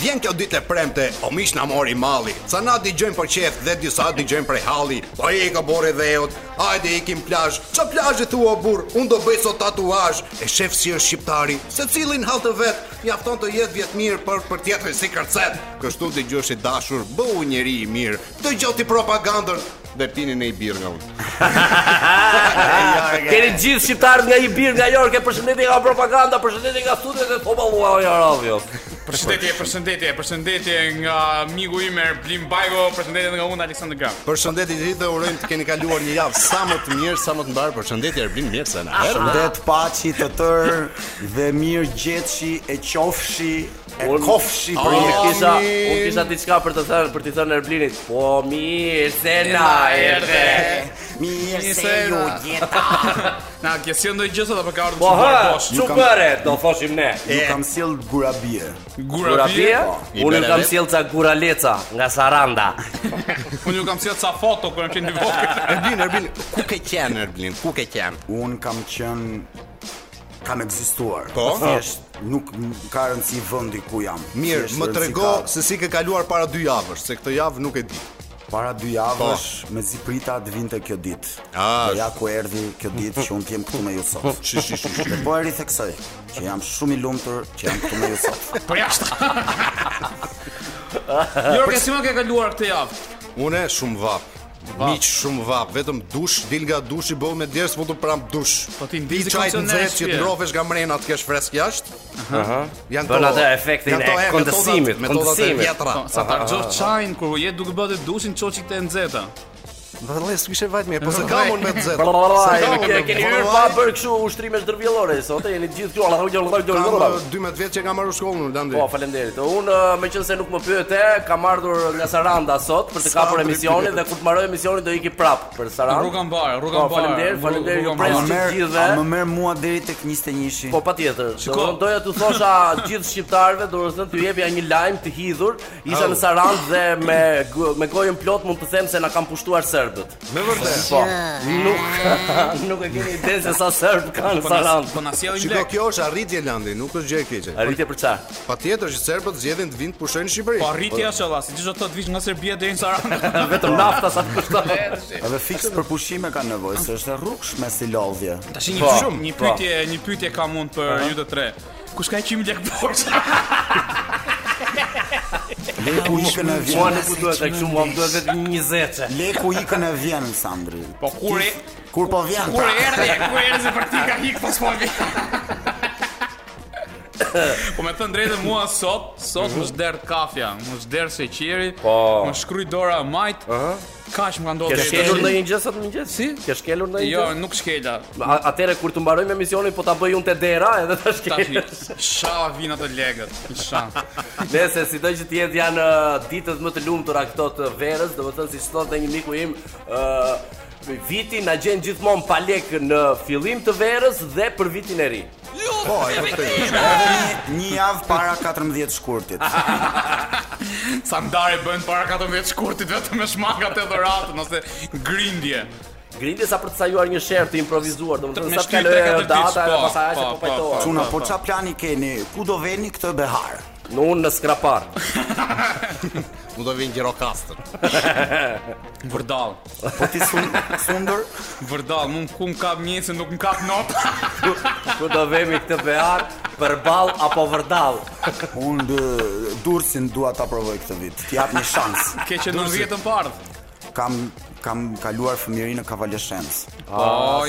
Vjen kjo ditë e premte, o mish na mori malli. Sa na dëgjojmë për qef dhe disa dëgjojmë prej halli. Po i ka borë dheut. Hajde ikim plazh. Ço plazhi thua burr, un do bëj sot tatuazh. E shef si është shqiptari, secilin hall të vet, mjafton të jetë vjet mirë për për tjetrin si kërcet. Kështu dëgjosh i dashur, bëu njeri i mirë. Dëgjoj ti propagandën dhe pini në i birë nga unë. Keni gjithë shqiptarët nga i birë nga Jorke, përshëndetje nga propaganda, përshëndetje nga studiet e Topallua o Jaravio. Përshëndetje, përshëndetje, përshëndetje nga miku im Erblim Bajgo, përshëndetje nga unë Aleksandr Gram. Përshëndetje të gjithë dhe urojmë të keni kaluar një javë sa më të mirë, sa më të mbarë. Përshëndetje Erblin mirë se na erdhe. Shëndet paçi të tërë dhe mirë gjetshi e qofshi e Unë- kofshi për Unë një kisha, mirë. unë kisha diçka për të thënë, për t'i thënë Erblinit. Po mirë se na erdhe. Mirë se se ju na. gjeta Na, ke si ndonjë gjë sot apo ka ardhur Po ha, bosh? çu kam- bëre, do thoshim ne. Ju kam sill gurabie Gura bie. Kurabia, I unë ju kam bere- sjellë ca guraleca nga Saranda. Unë ju kam sjell ca foto kur jam qenë i vogël. Erblin, Erblin, ku ke qenë Erblin? Ku ke qenë? Un kam qen kam ekzistuar. Po? Thjesht nuk m- ka rëndësi vendi ku jam. Mirë, Thjesht më rëndësi trego ka- se si ke kaluar para dy javësh, se këtë javë nuk e di. para dy javësh me ziprita të vinte kjo ditë. Po. Ah, Dhe ja ku erdhi kjo ditë që un kem këtu me ju sot. Shi, shi, shi, shi. Dhe po e ritheksoj që jam shumë i lumtur që jam këtu me ju sot. Për Po jashtë. Jorge, si më ke kaluar këtë javë? Unë shumë vap. Miq shumë vap, vetëm dush, dil nga dushi bëu me djerë, s'mund të pram dush. Po ti ndizi çaj të kondicioner nxehtë që të shpje. ngrofesh nga mrena të kesh fresk jashtë. Aha. Janë Bën to- atë efektin janë e to metodat- kondensimit, metodat e kondensimit. vjetra. Po, Sa ta rxosh çajin kur je duke bërë dushin çoçit e nxehta. Pra? Vëllai, s'kishe vajt mirë, po se kam unë me të zet. Brrrra, keni hyrë pa bërë kështu ushtrime zhdërvjellore sot, jeni gjithë këtu. Allah, Allah, Allah, Allah, Kam Allah. eh, 12 vjet që kam marrë shkollën në Landi. Po, faleminderit. Unë me qenë se nuk më pyete, kam ardhur nga Saranda sot për të Sa kapur drejt emisionin pyet. dhe kur të mbaroj emisionin do iki prap për Sarandë. Rruga mbar, rruga Po, mbar. faleminderit, Rrugë- faleminderit. Ju rruga pres A mbar. të merr gjithëve. a më merr mua deri tek 21-shi. eh? Po patjetër. Shiko. Do doja t'u thosha gjithë shqiptarëve, dorëzën t'ju jepja një lajm të hidhur. Isha në Sarandë dhe me gu- me gojën plot mund të them se na kanë pushtuar serbët. Me vërtet. Po. Nuk nuk e keni idenë se sa serb kanë në Po na- Sarandë. Po na sjellin Shiko, lek. kjo është arritje Landi, nuk është gjë e keqe. Arritje për çfarë? Patjetër që serbët zgjedhin të vinë të pushojnë në Shqipëri. Po arritja është valla, siç do të thotë vish nga Serbia deri në Sarandë. Vetëm nafta sa të kushton. Edhe fiks për pushime ka nevojë, se është e rrugshme si lodhje. Tash një Po, shumë, një po. pyetje, një pyetje kam unë për ju të tre. Kush ka 100 lek borxh? Leku ikën e Mua nuk vjen. u duhet ai kështu, mua më duhet vetëm 20. Leku ikën e vjen Sandri. Po kur e Kur po vjen? kur pra? erdhi, kur erdhi për ti ka hik pas fondi. Po me thënë drejtë mua sot, sot më shder kafja, më shder sheqeri, Po. më shkruj dora e majt. Kaq më ka ndodhur Ke deri shkelur tani. ndonjë gjë sot mëngjes? Si? Ke shkelur ndonjë Jo, gjë? nuk shkela. A- Atëre kur të mbarojmë emisionin po ta bëj unë te dera edhe ta Tash shkelësh. shava vin ato legët. Inshallah. Nëse sido që të jetë janë ë, ditët më të lumtura këto të verës, domethënë siç thotë një miku im, ë viti na gjen gjithmonë pa lek në fillim të verës dhe për vitin e ri. Po, e vërtetë. pra, Një- Një javë para 14 shkurtit. Sa ndarë bëjnë para 14 shkurtit vetëm me shmangat e dhëratën ose grindje. Grindi sa për të sajuar një sherr të improvisuar, Me domethënë sa të shtyp kalojë tre, katër data ditë, edhe po, pastaj po, se po po, pajtohet. Çuna, po ç'a plani keni? Ku do veni këtë behar? Në unë në skrapar. Mu do vinë gjirokastër. Vërdall. Po ti sun, sundur? Vërdall, mund ku më kap një se nuk më kap notë. Ku do vemi këtë behar për ball apo vërdall? Unë dë, dursin dua ta provoj këtë vit. Ti jap një shans. Ke që në 10 në pardh. Kam kam kaluar fëmijërinë në kavaleshensë. Po, sa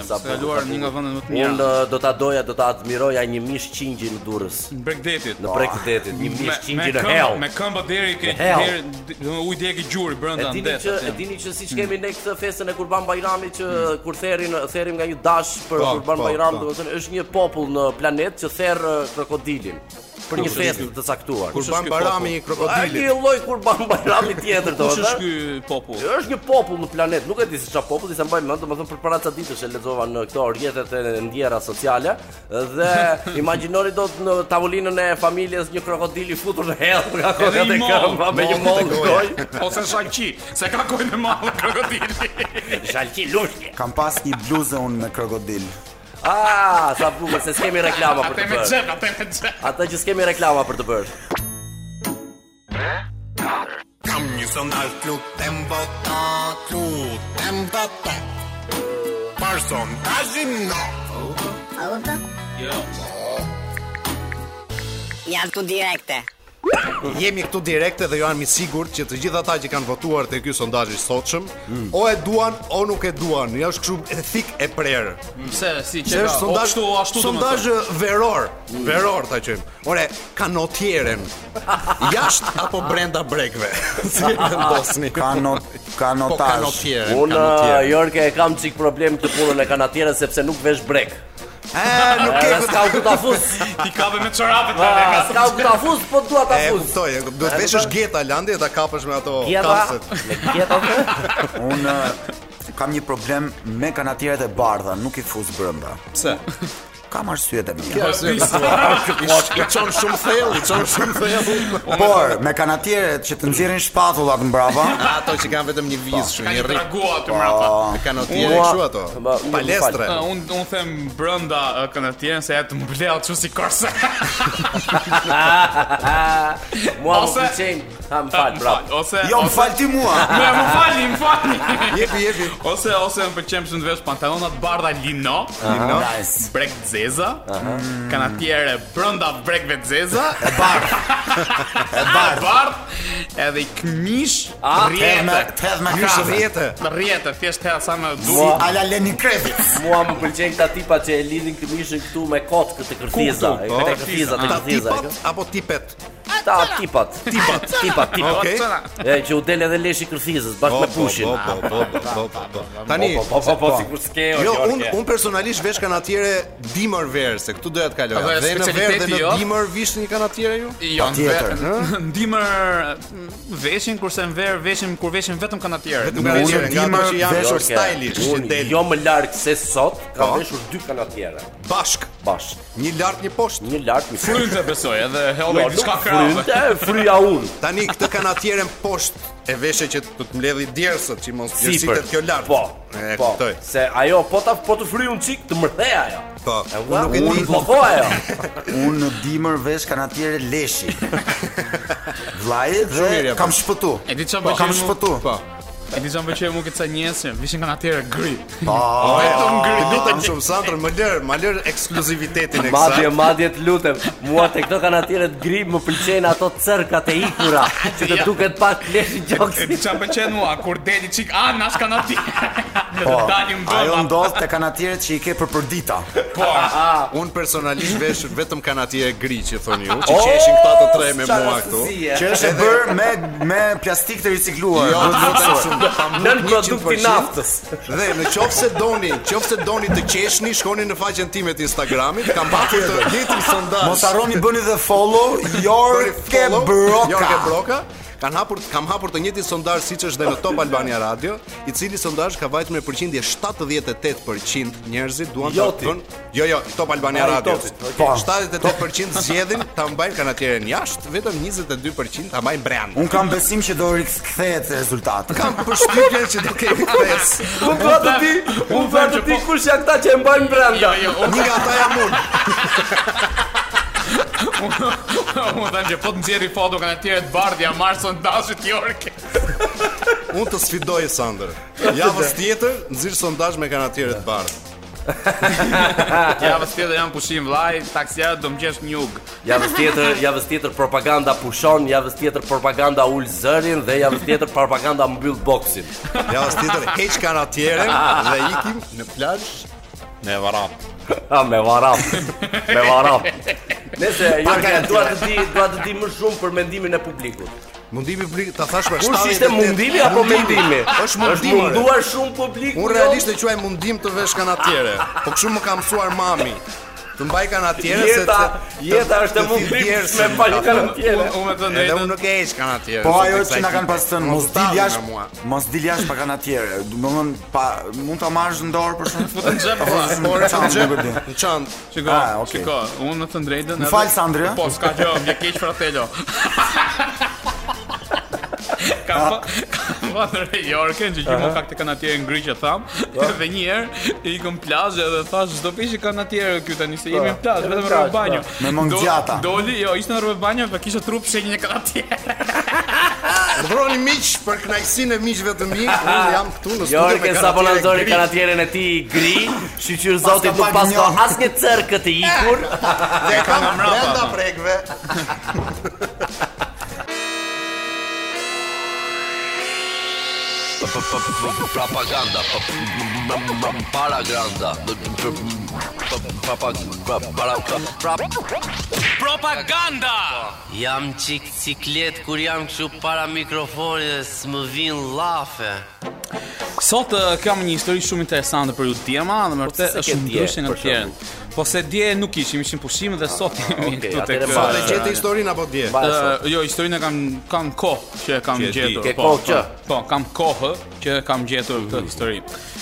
bukur, sa Sa bukur, kaluar sa një nga vendet më të Unë mira. ë, do ta doja, do ta admiroja një mish qingji në Durrës. Në Bregdetit. Në prek të detit, një Me- mish me qingji në këmbë- hell. Me këmbë deri ke Në hell. deri do uj deri ke gjuri E brenda dini ndet. që e dini që siç kemi ne këtë festën e Kurban Bajramit që Mm. kur therrin therrim nga një dash për Po, Kurban po, Bajram, po. domethënë është një popull në planet që therr eh, krokodilin për një festë të caktuar. Kur Kush është ban ky barami i Ai krokodilit. një lloj Kurban Bajrami tjetër Kush është domethënë. ky popull? Është një popull në planet, nuk e di se çfarë popull, disa mbaj mend, domethënë për para ca ditësh e lexova në këto rrjetet e ndjera sociale dhe imagjinoni dot në tavolinën e familjes një krokodil i futur në hell nga Edhe i kokat e moll, këmbave me një moll në gojë. Ose shalqi, se ka kojnë e madhe krokodili. Shalqi lushje. Kam pas një bluzë unë me krokodil. Ah, sa bukur se s'kemi reklama për Atë të me bërë. xhep, atë me xhep. Ata që s'kemi reklama për të bërë. Kam një sondazh lutem vota, lutem vota. Për sondazhin no. Jam ku direkte. Jemi këtu direkte dhe jam i sigurt që të gjithë ata që kanë votuar te ky sondazh i sotshëm, o e duan o nuk e duan. Është kështu e thik e prerë. Pse si Se çe? është sondazh ashtu ashtu sondazh veror, veror ta qëjmë Ore, kanotjeren. Jashtë apo brenda brekëve? si e vendosni? Kano, Po kanotazh. kanotjeren. Unë eh, kanotjeren. Jorke e kam çik problem të punën e kanatierës sepse nuk vesh brek. E, nuk E, e s'ka u ta fus. Ti kape me çorapet Ah, tani. S'ka u ta fus, po dua ta E fus. kuptoj, e kuptoj. duhet veshësh geta landi dhe ta kapësh me ato Gjeta, kapset. me gjeta. Unë kam një problem me kanatierët e bardha, nuk i fus brenda. Pse? Kam arsyet e po, mia. I çon shumë thellë, i çon shumë thellë. Po, Por me kanatierët që të nxjerrin shpatullat mbrapa, Ato që kanë vetëm një vizë shumë Po, Ka një një rrik. dragua aty mrapa. Kanë otjere kështu ato. Ba, unë Palestre. Uh, un un them brenda uh, kanatien se ja të mbleu çu si korse. Mua më Ose- pëlqejn. Ha, më fal, brap. Ose jo më ose- fal ti mua. Me më falni, më falni. Jepi, jepi. Ose ose më pëlqen shumë të vesh pantallona të bardha lino, Ah. No? Nice. brek të zeza, Mm. kanatiere brenda brekve të zeza, E bardh. e bardh, edhe i këmish, Tëdh me, rrjetë, tëdh me Kishë krave. rjetë. të rrjetë, thjesht edhe sa më Si duhet. ala Lenny Kravitz. Mua më pëlqejn këta tipa që e lidhin këmishin këtu me kot këtë kërthiza, Ku, ku, këtë po. kërthiza, Ta këtë kërthiza. tipat apo tipet? Ta tipat, tipat, tipat, tipat. Okej. E që u del edhe leshi kërthizës bashkë Po, me po, pushin. po, po, po, po, po, po. Tani, Po, po, po, po, sikur s'ke o Jo, Gjorgje. un un personalisht vesh kanatiere dimër verë, se këtu doja të Edhe kaloja. Dhe në verë dhe specialiteti në jo? dimër vish një kanatiere ju? Jo, në Patjetër, ve- ndimër mm, veshin kurse në ver veshin kur veshin vetëm kanatiere. Vetëm kanatiere, nga ato dimër që janë veshur veshur Gjorgje, stylish, që unë del Jo më larg se sot, Po. kam veshur dy kanatiere bashk, bash. një lart një poshtë. Një larg, një frymë. Frynte besoj, edhe Jo, helli nuk diçka krave. frynte, fryja unë. Tani këtë kanatieren poshtë e veshe që të të mbledhi djersët që mos djersitet kjo lart. Po. E po, kuptoj. Se ajo po ta po të fryj unë çik të mrdhej ajo. Po. E Unë nuk e di. Po po ajo. Unë në dimër vesh kanatiere leshi. Vllai mirë, dhe apo? kam shpëtu. E di çfarë Po, bëj. kam shpëtu. Po. E di çfarë bëj mua këtë ca njerëz, vishin kanatiere gri. Ah. Po, Po. vetëm ngri. Lutem shumë Sandër, më lër, më lër ekskluzivitetin e Madje, kësaj. madje të lutem, mua te këto kanatiere të gri më pëlqejnë ato cerkat e ikura, që të duket pak leshi E gjoksi. di çfarë pëlqen mua kur deli çik anash kanatiere. Dhe Po. të dalim po. Ajo brenda. ndodh te kanatierët që i ke për përdita. Un personalisht vesh vetëm kanatiere gri që thoni ju, që qeshin këta të tre Oh, me mua këtu. Që është e bërë me me plastik të ricikluar. Jo, duhet lutem theksuar. shumë, kam Nën bërë produkti 100%. naftës. Dhe në qoftë se doni, qoftë se doni të qeshni, shkoni në faqen time të Instagramit, kam patur të njëjtin sondazh. Mos harroni bëni dhe follow Jorke follow, Jorge Broka. Broka. Kan hapur kam hapur të njëjtin sondazh siç është dhe në Top Albania Radio, i cili sondazh ka vajtur me përqindje 78% njerëzit duan ta Joti. bënë. Jo, jo, Top Albania Ah, i Radio. Topit, Po. 78% zgjedhin ta mbajnë kanatieren jashtë, vetëm 22% ta mbajnë brenda. Un kam besim që do rikthehet rezultati. Kam përshtypjen që do kemi kthesë. Unë dua të di, unë dua të po- di kush janë këta që e mbajnë brenda. Jo, Një nga ata jam unë. Unë them që po të nxjerri foto kanë tjerë të bardhë ja marr sondazhit Jorke. Unë të sfidoj Sander. Javës tjetër nxirr sondazh me kanatierë të bardhë. Javës tjetër janë pushim vllai, taksiarët do mqesh një ug. Javës tjetër, javës tjetër propaganda pushon, javës tjetër propaganda ul zërin dhe javës tjetër propaganda mbyll boksin. Javës tjetër heq kanatierën dhe ikim në plazh në Varap. Ha me varap. Me varap. Nëse Jorge garantia. dua të di, dua të di më shumë për mendimin e publikut. Mundimi blik, ta thash për 78. Kush ishte mundimi apo mendimi? Është mundim, ore. munduar shumë publik. jo? Unë realisht e quaj mundim të vesh kanatiere, po kështu më ka mësuar mami. Të mbaj kanatiere se Jeta, të- jeta të- është e të mundimshme thithjersin. me palkan tjetër. Unë me të Edhe drejtën. unë nuk e heq kanatiere. Po sot ajo e kësaj që na kanë kite. pas thënë mos dil dalin nga mua. jashtë, mos dil jashtë pa kanatiere. Domthon pa mund ta marrësh në dorë për shkak Futën xhep vllai. Por e kam Çantë, gjë- nuk e di. në çantë. Shiko, Ah, okay. shiko, unë me të drejtën. edhe- eh? fal, Sandri, ha? Po, s'ka gjë, më keq fratello. Ka pa në New Yorkën që gjithmonë ka këtë kanatier ngri që tham. Po. Dhe një herë ikëm plazhe dhe thash çdo peshë kanatier këtu tani se jemi në plazh, jemi vetëm në rrë plazh, banjo. Me mong Do- gjata. Doli, jo, ishte në rrë banjo dhe kishte trup shenjën e kanatier. Urdhroni miq për kënaqësinë e miqve të mi. Unë jam këtu në studio me Jorgen sa po lanzori kanatierën e ti i gri, shqyqyr zoti ka nuk pak pas ka njohur. asnjë cërkë të ikur. Dhe kam Nga mrapa, brenda po. prekve. propaganda pa- pa- paraganda Pa- pa- pa- para- pra- Propaganda. Jam qik ciklet kur jam kështu para mikrofonit s'më vin lafe. Sot eh, kam një histori shumë interesante për ju djema dhe Po, se vërtet se është ke dje, ndryshe nga për të tjerët. Po se dje nuk ishim, ishim pushim dhe sot jemi okej, këtu tek atëherë eh, fare. Dhe gjeti historinë apo dje? Ba- Ë, jo, historinë kam kam kohë që e kam e di. gjetur. Ke po, kohë që? Mhm. po, Po, kam kohë që e kam gjetur këtë histori.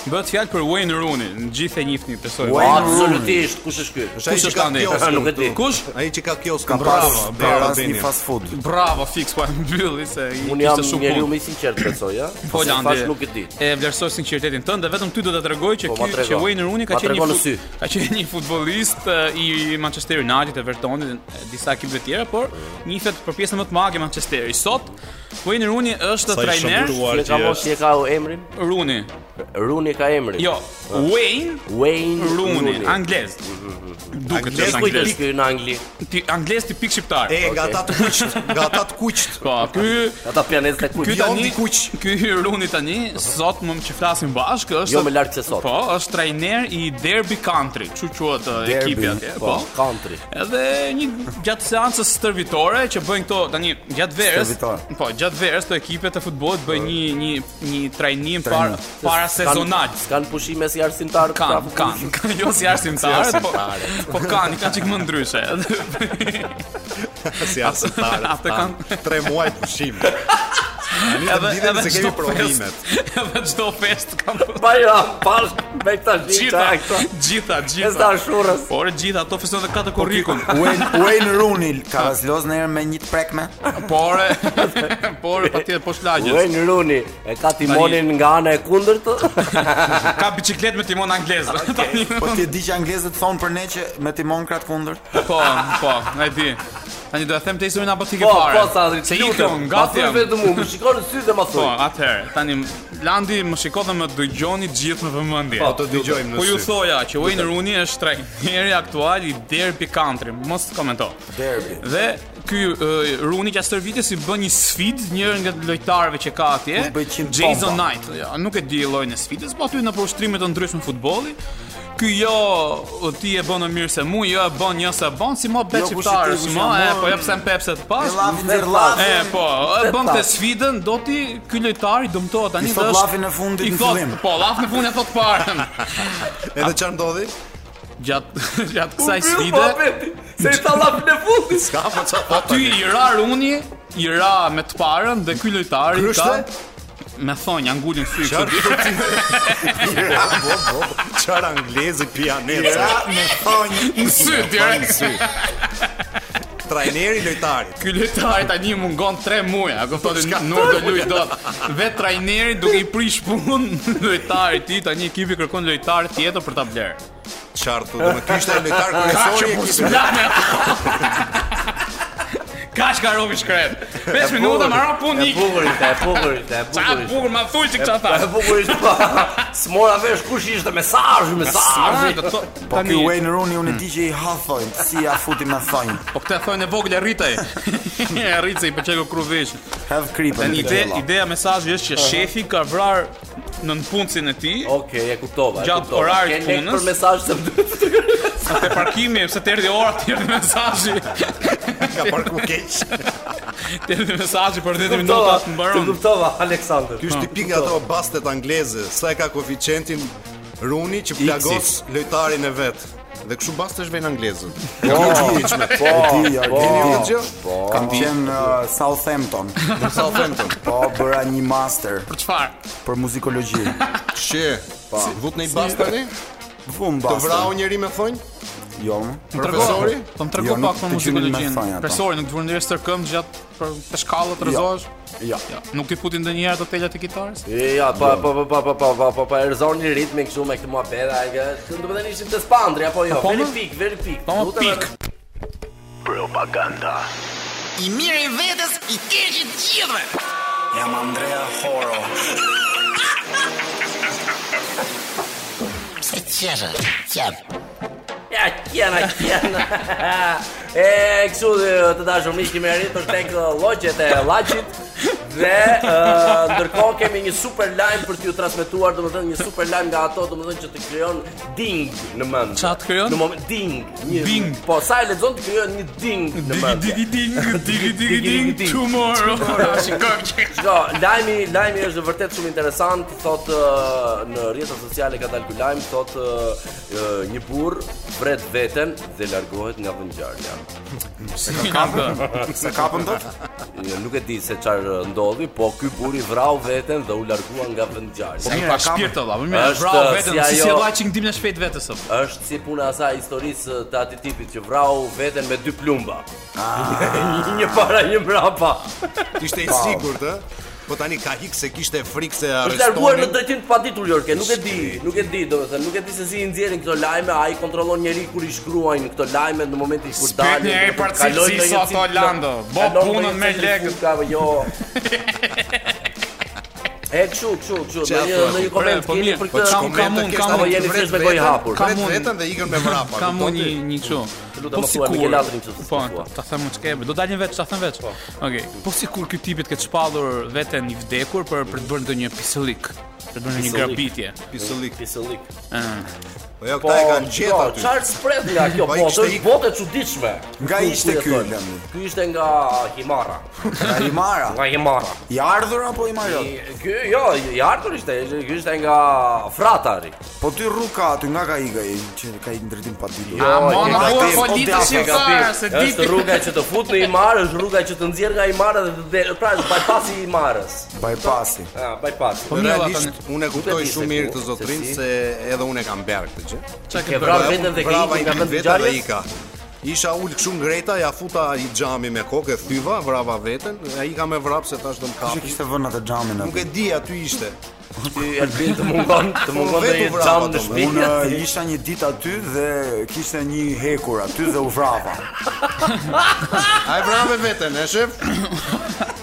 Bëhet fjalë për Wayne Rooney, në gjithë e njihni besoj. Po, Absolutisht, kush është ky? Ai që është ka tani? kioskun Nuk e di. këtu. Kush? Ai që ka kioskun. Ka pas, ka Dera pas Bini. një fast food. Bravo, fiks, po e mbylli se i Unë jam kishte shumë njeriu punë. më i sinqert besoj, ja. Po Se Landi. thash nuk e di. E vlerësoj sinqeritetin tënd dhe vetëm ty do ta tregoj që Po, ma ky trego. që Wayne Rooney ka Ma qenë trego një në fut- sy. ka qenë një futbollist e, i Manchester United, Evertonit, e disa ekipeve të tjera, por njihet për pjesën më të madhe e Manchesteri. Sot Wayne Rooney është Sa i trajner shëmtuar Ti që ka mos është. ti e ka emrin? Rooney. Runi ka emrin. Jo, Wayne Wayne Rooney, anglez. Duket Anglez, që është Kujt anglez. është ky në Angli? Ti anglez tipik shqiptar. E, nga ata të kuqt, nga ata të kuqt. Po, ky Ata pianistë e ky kujt? Beyond tani i kuq. Ky Runi tani sot më që flasim bashkë është Jo, më lart se sot. Po, është trajner i Derby Country, çu quhet uh, ekipi atje, po. country. Edhe një gjatë seancës stërvitore që bëjnë këto tani gjatë verës. Stërvitore. Po, gjatë verës këto ekipe të futbollit bëjnë një një një trajnim para Trajnim. para S'kan- sezonal. S'kan pushime si arsimtar. Kan, prapë. kan, kan, jo si arsimtarët, po, po kan, i kanë qikë më ndryshe. Si asitare. Atë kanë- 3 Ah, muaj pushim. Ne Edhe- të lidhemi edhe se kemi çdo provimet. fest- Edhe çdo fest kam Bajram, pash, jo, me këta shita, gjitha, këta. gjitha, E sta gjitha. shurës. Por gjitha ato festojnë dhe katë korrikun. Wayne, Wayne Rooney ka vazhdos në herë me një të prekme. Por por patjetër po shlagjes. Wayne Rooney e ka timonin nga ana e kundërt. Ka biciklet me timon anglez. Tani, Po ti e di që anglezët thonë për ne që me timon kratë kundër. po, po, e di. Tani do të them të historinë apo ti ke Po, fare. po sa se ikëm, gati Ma thuj jam. vetëm unë, më shikon në sy dhe ma Po, thuj. atëherë, tani Landi më shiko dhe më dëgjoni gjithë me vëmendje. Po, të dëgjojmë në Po ju sy. thoja që Wayne Rooney është trajneri aktual i Derby Country, mos komento. Derby. Dhe ky ë, Rooney gjatë stërvitjes i bën një sfid njërin nga lojtarëve që ka atje, Nuk bëj qind Jason pompa. Knight. Ja, nuk e di llojin e sfidës, po aty në për ushtrime të ndryshme futbolli. Ky jo o, ti e bën më mirë se mua, jo e bën një se bën si më Jo, bet kush i shqiptarë, ti, si kush më, jam e unë? po jep sen pepse të pas. E lafin dhe lafin. E po, e bën ta. këtë sfidën, do ti ky lojtar i dëmtohet tani I thot dhe është- lafin e fundit i në thot- fillim. Po, lafin e fundit e thot parën. Edhe çfarë ndodhi? Gjatë gjatë kësaj Mbyll sfide, muhabetin, po Se i tha lapin e fundit. Ka apo çfarë? aty i ra Runi, i ra me të parën dhe ky lojtari ka Kryshte? me thonjë angulin fyk. Çfarë thotë? Bo, bo, Çfarë anglezi pianeca. me thonjë. Në sy direkt. Trajneri lojtarit. Ky lojtar tani mungon 3 muaj, a kuptoni? Nuk do luaj dot. Vet trajneri duke i prish punë lojtarit ti, tani ekipi kërkon lojtar tjetër për ta bler. Çfarë thotë? Do të kishte lojtar kryesor i ekipit. Kaç ka robi shkret. 5 minuta më ra punë E po, ik. bukur ishte, e bukur ishte, e Sa bukur ishte. bukur ma thuj çka Po, E tha. bukur ishte. po. S'mora vesh kush ishte, mesazh, mesazh. Po ky Tani, Wayne Rooney unë e di që i ha thonjë, si ja futi me thonjë. po këtë thonë e vogël e rritaj. E rritë se i pëlqeu kruvesh. Have creepin. Tani ide, ideja mesazhi është që shefi ka vrarë nën punësin e tij. Okej, e kuptova. e Gjatë kuptova. Ke orarit lek punës? Për mesazh se Te parkimi, pse të erdhi ora, të erdhi mesazhi. Ka parku keq. Të erdhi mesazhi për 10 kuptova. minuta të Të mbaron. kuptova Aleksandër. Ky është tipik Po. nga ato bastet angleze, sa e ka koeficientin Runi që plagos lojtarin e vet. Dhe kështu bastesh vjen anglezën. Po, di, ja, Keni di. një gjë? Po. Kam qenë në Southampton. Për Southampton. Po bëra një master Për çfarë? për muzikologji. She, pa. Vut në i bastani? Vum Të basta. vrau njëri me thonj? Jo. Më trego- Profesori? Po më tregu Jo, nuk pak për të gjynin me muzikologjinë. thanja ato. Profesori, nuk të vjen ndërsa këmbë gjatë për të shkallët rrezohesh? Ja. Ja, nuk i futin ndonjëherë ato telat e kitarës? E, Ja, po po po po po po po po po erzoni ritmin këtu me këtë muhabet, ai që do të thënë ishim te spandri apo jo. Po, po, Veri më? pik, veri pik. Po, më, Lutem, pik. I mirë i vetës, i keqi të gjithëve. Jam Andrea Horo. Se qeshe, qep. Ja, kjena, kjena. e, kështu dhe, të dashur miq kemi arritur tek uh, llogjet e llaçit dhe uh, ndërkohë kemi një super lajm për t'ju transmetuar, domethënë një super lajm nga ato domethënë që të krijon ding në mend. Çfarë të krijon? Në moment ding, një Ding. Po sa e lexon të krijon një ding në Digi mend. digi ding, digi digi Digi, digi, ding ding. tomorrow. Shikoj që Shiko, lajmi, lajmi është vërtet shumë interesant. Thot ë, në rrjetet sociale ka dalë ky lajm, thot ë, ë, një burr vret veten dhe largohet nga vendngjarja. Se kapën dot? Jo, Nuk e di se çfarë ndodhi, po ky burr i vrau veten dhe u largua nga Po vendngjarja. mirë, pak shpirt olla, po mirë, Është, bravo vetëm, si si si ajo- e vllaçi ngdimin e shpejt po. vetes apo. Është si puna e asaj historisë të atij tipit që vrau veten me dy plumba. një para, një mbrapa. Ishte i sigurt, ë? Po tani ka hik se kishte frikë se Është larguar në arrestonin. dëtin të paditur Jorke, nuk e di, nuk e di domethënë, nuk e di se si i nxjerrin këto lajme, ai kontrollon njeri kur i shkruajnë këto lajme në momentin kur Spyt dalin. njeri për kalojnë cilësi në një sa cil- to Lando, bo kalojnë në punën një me cil- lekët. Ka jo. E kështu, kështu, kështu, në një thua? në një Bre, koment po keni mirë, për po këtë. çka Kam- kam Komente unë, kishte kam apo unë. jeni Vret frish me gojë veten, hapur. kam Vret unë. vetën dhe ikën me vrapa. Kam unë kupton një ti? një kështu. lutem, Po ma thua, sikur. Mikelatrin që të Po, thua. ta them unë ç'ke, do dalin vetë, ta them vetë. Okej. Po sikur ky tipit këtë shpallur veten i vdekur për për të bërë ndonjë pisollik, për të bërë ndonjë Pisollik. grabitje. pisollik. Pisollik. Po jo, Po, këta e kanë gjetë shiko, aty. Çfarë spret nga kjo Po, i botë? kishte Është ik- botë e çuditshme. Nga Ku- ku ishte ky, jetojmë? Lemi? Ky ishte nga Himara. Nga i mara. Nga Himara. I ardhur apo i marrë? Ky jo, i ardhur ishte, ky ishte nga Fratari. Po ty rrug ka aty, nga ka i i, që ka i ndërtim pa Jo, ditur. Ma e ma ke po gabim, po o ditë djathtë, si e fare se Është ditë. rruga që të fut në Imar, është rrruga që të nxjerr nga Imara dhe të del, pra është bypassi i Imarës. Bypassi. Ah, bypassi. Po mirë, Realisht unë e kuptoj Nuk e di se shumë mirë ku, këtë zotrin se si. se edhe unë e kam bërë këtë gjë. Çka Ke ke vrarë bërë? Bravo, veten dhe ke brava ikur i nga pi vend veten dhe ngjarjes? ika. Isha ul kështu ngreta, ja futa i xhami me kokë, thyva, vrava veten, ai ka me vrap se tash do më Që kapi. kishte vënë atë xhamin Nuk aty. e di aty ishte. Ti Elbin të mungon, të mungon vetë në u një vrapa, xham në domethënë. shtëpi. Unë eh, isha një ditë aty dhe kishte një hekur aty dhe u vrapa. Ai vrave veten, e shef?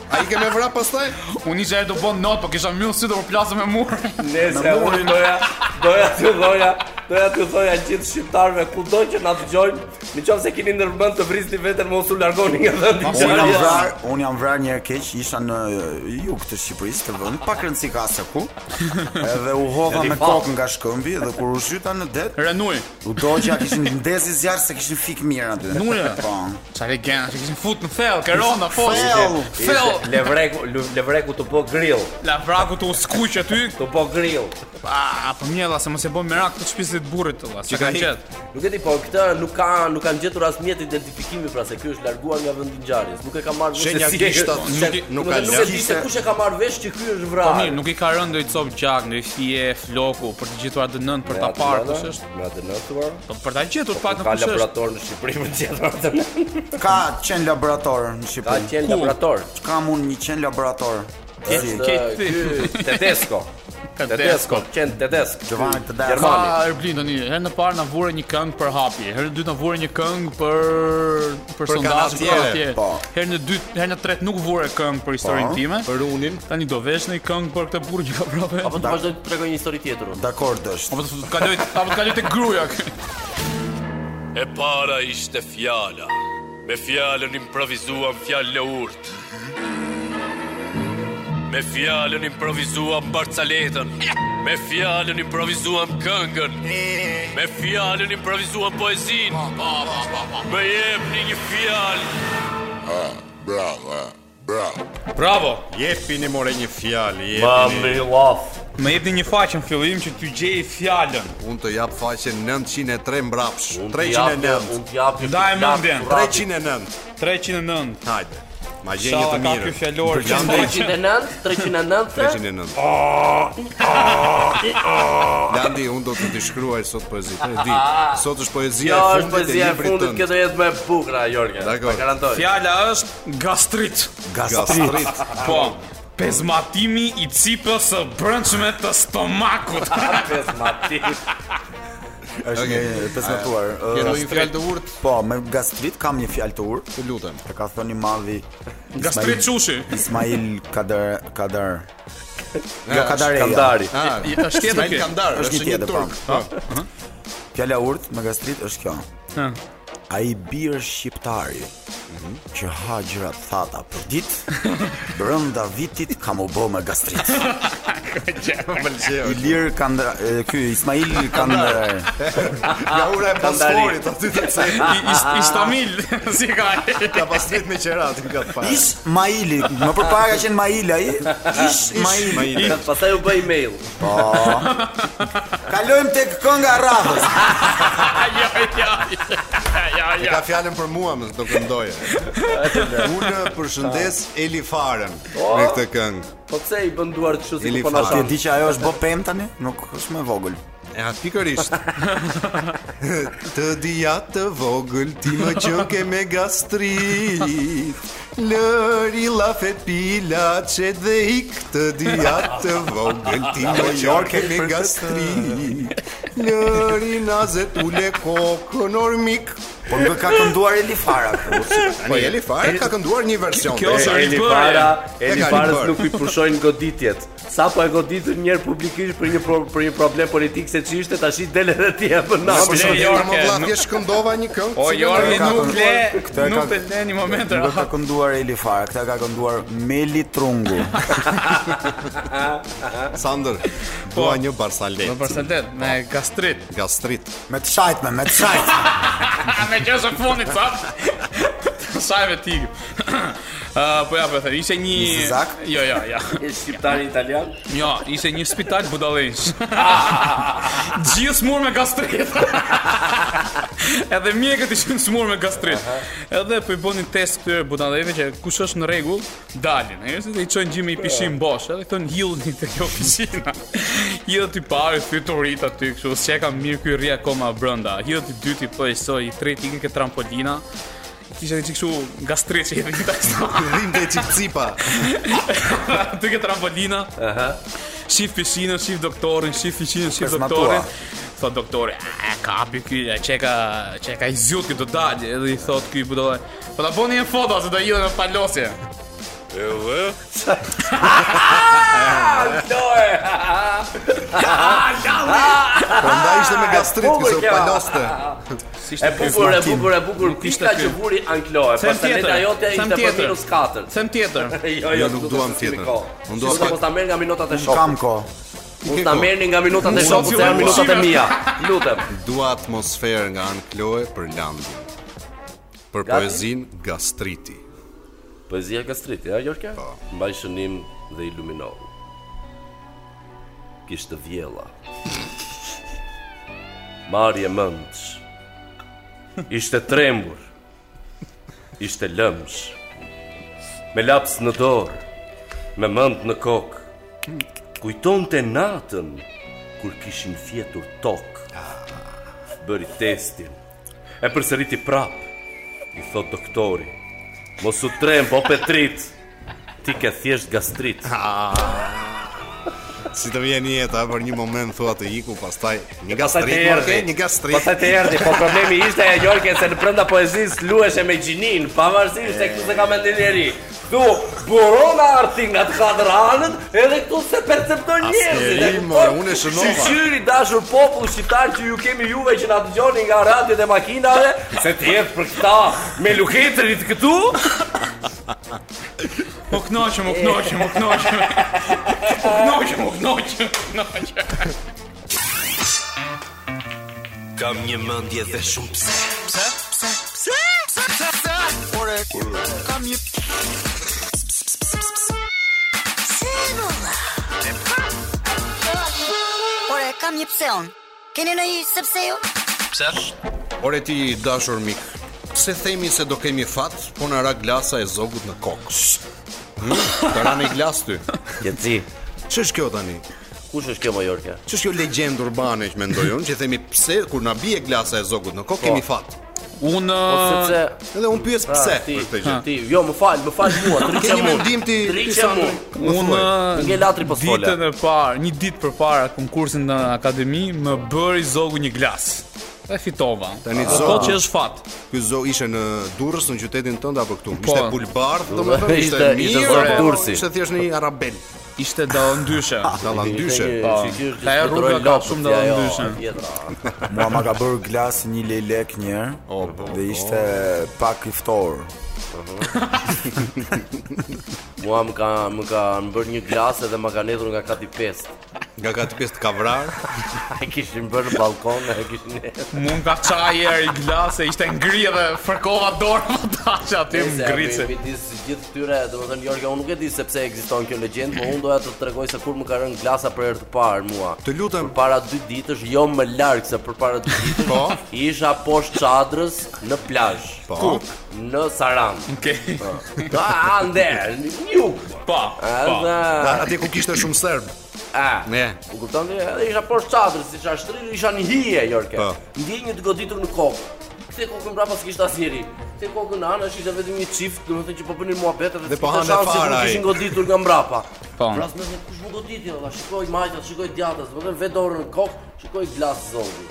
Ai ke me vrap pastaj? Unë isha e do bën not, po kisha mbyll sy do përplasem me mur. Nëse unë doja, doja t'ju thoja, doja t'ju thoja gjithë shqiptarëve kudo që na dëgjojnë, nëse keni ndërmend të vrisni veten mos u largoni nga vendi i Unë jam ngjarjes. vrar, unë jam vrar një herë keq, isha në eh, jug të Shqipërisë, të vend, pak rëndësi ka se ku. Edhe u hova me kokë nga shkëmbi dhe kur u zhyta në det, Renuj. u dogja kishin ndezi zjarr se kishin fik mirë aty. Nure. Po. Çfarë legenda, që kishin fut në thell, Kerona, po. Thell. Thell. Levreku, levreku të po grill, La vraku të uskuq aty. të po grill. A, po mjella se mos e bën merak të shtëpisë të burrit olla. Çka ka ka qet? Nuk e di, po këtë nuk ka nuk kanë gjetur as mjet identifikimi pra se ky është larguar nga vendi i ngjarjes. Nuk e ka marrë vesh Shenja se si kishta, e- nuk i- se- nuk domethënë, ka Nuk e di lënë. se kush e ka marrë vesh që ky është Po vrarë. mirë, nuk i ka rënë ndonjë cop gjak, ndonjë fije, floku për të gjetur atë nën për ta parë kush është. Me atë nëtuar. Po për ta gjetur pak Ka në kush është. laborator në Shqipëri për të gjetur atë. nën. Ka qen laborator në Ka Shqipëri. qenë Ku? laborator. Kam unë një qen laborator. Si, Është ke ky ti. Tedesco. Tedesco, qen Tedesco. Giovanni Ka Tedesco. Gjermani. Erblin tani, herë në parë na vure një këngë për hapje, herë në dytë na vure një këngë për për sondazh për kanatiere, atje. po. Herë në dytë, herë në tretë nuk vure këngë për historinë Po. time. Për unin. Tani do vesh një këngë për këtë burrë që ka vrapë. Apo të vazhdoj të tregoj një histori tjetër. unë. Dakor dësht. Apo të kaloj, apo të kaloj te gruaja. kë. E para ishte fjala Me fjallën improvizuam fjallë urt Me fjallën improvizuam barcaletën Me fjallën improvizuam këngën Me fjallën improvizuam poezin Me jepni një fjallë Bravo. Jepini more një fjalë, Mami jepini. laf. Më jepni një faqe në fillim që ty gjej fjalën. Unë të jap faqen 903 mbrapsh. Unë t'jap- 309. Unë t'jap. Ndaj mendjen. 309. 309. Hajde. Ma gjenje Shalla të ka mirë. ky fjalor që 309, 309 309. Landi, unë do të të shkruaj sot poezi. Të di, sot është poezia Kjo e është fundit e poezia e librit fundit, kjo tënd. do jetë më e bukur ajo Jorgen. Dakor. Ta garantoj. Fjala është gastrit. Gastrit. Po. Pezmatimi i cipës së brëndshme të stomakut. Pezmati. Është një pesmetuar. Ke Ë, ndonjë fjalë të urtë? Po, me gastrit kam një fjalë të urtë. Të lutem. E ka thënë i madhi Ismail- Gastrit çushi. Ismail Kadar Kadar. Jo Kadareja. Skandari. Ah, është tjetër Ismail kjo. Kandar, Është një është një tjetër turk. po. Fjala urt me gastrit është kjo. Ai bir shqiptari që ha gjëra të thata për ditë, brenda vitit kam u bë me gastrit. Më pëlqeu. Ilir Kandar, e, ky Ismail Kandar. Nga ura e Bosporit aty të I, cejë. i, istamil, si ka Ka pasnet me qerat nga të parë. Ismaili, më përpara ka qenë Maili ai. Ismaili. Ismail. Pastaj u bë email. Kalojmë tek kënga e radhës. Ja, ja, ja, ja Ka fjalën për mua, më do këndoje. Unë përshëndes Eli Farën me këtë këngë. Po pse i bën duart kështu si Ili po na fare. Ti e shan? di që ajo është bë pem tani? Nuk është më e vogël. Ja, pikërisht. të dija të vogël ti më qoke me gastrit. Lëri la fepila që dhe ik të dija të vogël ti më qoke me gastrit. Lëri nazet ule kokën ormik. Por Po nuk e ka kënduar Eli Fara këtu. Po Eli Farën ka kënduar një version. Kjo është Eli ribërja. Para, E Eli ka Parës ribër. nuk i pushojnë goditjet. Sa po e goditën njerë publikisht për një pro, për një problem politik se ç'ishte, tash i del edhe ti e bën Na nash. për Le, shkak Jorke, të nuk- mos shkëndova një këngë. Po, O, cilën Jorgi e ka nuk kënduar. le, Këtë e nuk ka- të le një moment Nuk e ka rahat. kënduar Eli Fara, këtë e ka kënduar Meli Trungu. Sander, Po. dua një barsalet. Në përsetet, me gastrit. Gastrit. Me të shajtme, me të shajtme. A me gjë së fundit, sa? Sa e me tigë. Uh, po ja, po e thërë, ishte një... Një zak? Jo, jo, jo. E shqiptari italian. Jo, ishte një spital budallensh. Gjithë smur me gastrit. Edhe mjekët ishin smur me gastrit. Edhe po i bënin test këtyre budallëve që kush është në rregull, dalin. Njerëzit i çojnë gjime i pishim bosh, edhe thon hillni te kjo pishina. Hidhet i parë, fyturit aty kështu, s'e ka mirë ky rri akoma brenda. Hidhet i dyti po i soi, i treti ikën ke trampolina. Kishte një kështu gastrit që i dhe gjithashtu. Rrimte e cipcipa. Aty ke trampolina. Aha. Shif pishinën, shif doktorin, shif pishinën, shif Pesmatua. doktorin. Tha doktori, "A, e kapi ky, e çeka, çeka i zjut ky do dal." Edhe i thot ky budalla, "Po ta bëni një foto se do jillen në palosje." Prandaj ishte me gastrit bukur këso Po, kjo. paloste. Si E bukur, e bukur, e bukur. ishte Pika ky. që vuri Ankloe, Them pastaj tjetër, leta jote them ishte për tjetër. minus 4. Them tjetër. Jo, Jo, jo, nuk këtu duam s'kemi tjetër. kohë. Unë Unë dua do pak- të mos ta merr nga minutat e shokut. Kam ko. Mos ta merrni nga minutat e Unë shokut, shoh se janë si minutat e unë mia. Lutem. Dua atmosferë nga Ann Kloe për Landin. Për Gati? poezin Gastriti. Poezia e gastritit, ja Jorka? Mbaj shënim dhe iluminohu. Kishtë vjella. Marje mëndsh. Ishte trembur. Ishte lëmsh. Me laps në dorë, me mënd në kokë. Kujton të natën, kur kishin fjetur tokë. Bëri testin, e përsëriti prapë, i thot doktori. Mos u trem, po Petrit. Ti ke thjesht gastrit. Si të vjen jeta për një moment thua të iku, pastaj një Pastaj gastrit, të më erdhi. ke, një gastrit. Pastaj të erdhi, po problemi ishte e Jorke se në brenda poezisë luheshe me gjinin, pavarësisht se këtu se ka mendin njeri. Tu buron arti nga të katër anët, edhe këtu se percepton njerëzit. e Asnjeri, kupton? more, unë e shënova. Sinqyri dashur popull shqiptar që ju kemi juve që na dëgjoni nga radiot e makinave, se të jetë për këta me luketrit këtu, Po knoqem, u knoqem, u knoqem. Po knoqem, u knoqem, u knoqem. Kam një mendje dhe shumë pse. Ore, kam një pse unë. Keni në i sepse ju? Pse? Ore ti dashur mik, Pse themi se do kemi fat, po na ra glasa e zogut në kokë. Hmm, të ra një glas ty. Qetësi. Ç'është kjo tani? Kush është kjo Mallorca? Ç'është kjo legjend urbane që mendoj unë që themi pse kur na bie glasa e zogut në kokë kemi fat. Unë Po sepse Edhe un pyes pse Ah, ti, për këtë gjë. ti, jo, më fal, më fal mua, Ke triçe një mua. mendim ti? ti, Triçe Sandri? mua. Më Unë thuaj. Nge latri po sfola. ditën e parë, një ditë përpara konkursin në akademi, më bëri zogu një glas. Dhe fitova. Tani Dhe zogu- thotë që është fat. Ky zo ishte në Durrës në qytetin tënd apo këtu? Po. Ishte bulbardh, domethënë ishte Ishte- mirë. ishte zog apo Durrësi. Ishte thjesht një arabel, Ishte dallëndyshe. dallëndyshe. Ka e rruga ka shumë dallëndyshe. Mua ma ka bërë glas një lelek një herë Dhe ishte pak i ftorë Mua më ka më ka më bërë një glas edhe më ka nedhur nga kati 5. Nga gati pjesë të kavrar. Ai kishin bërë në balkon, ai kishin. Mun ka çaj erë i glase, ishte ngri dhe fërkova dorë më tash aty më ngrice. Midis gjithë këtyre, domethënë Jorga, unë nuk e di se pse ekziston kjo legjend, por unë doja të tregoj se kur më ka rënë glasa për herë të parë mua. Të lutem. Para dy ditësh, jo më larg se përpara dy ditësh. Po. Isha poshtë çadrës në plazh. Po. Në Saran. Okej. Po. Ka ande, ju. Pa. Po. Pa. Edhe Atje ku kishte shumë serb. a. Ne. U kupton ti? Edhe isha poshtë çadrës, isha shtrirë, isha në hije Jorke. Po. Ndjej një të goditur në kokë. Kthe kokën mbrapa s'kishte asnjëri. Kthe kokën anash ishte vetëm një çift, domethënë që po bënin muhabet edhe Dhe po s'kishte hanë shanse, fare nuk ai. kishin goditur nga mbrapa. Po. Pras më thënë kush më goditi, valla, shikoj majtat, shikoj djatës, domethënë vetë dorën në kokë, shikoj glas zogu.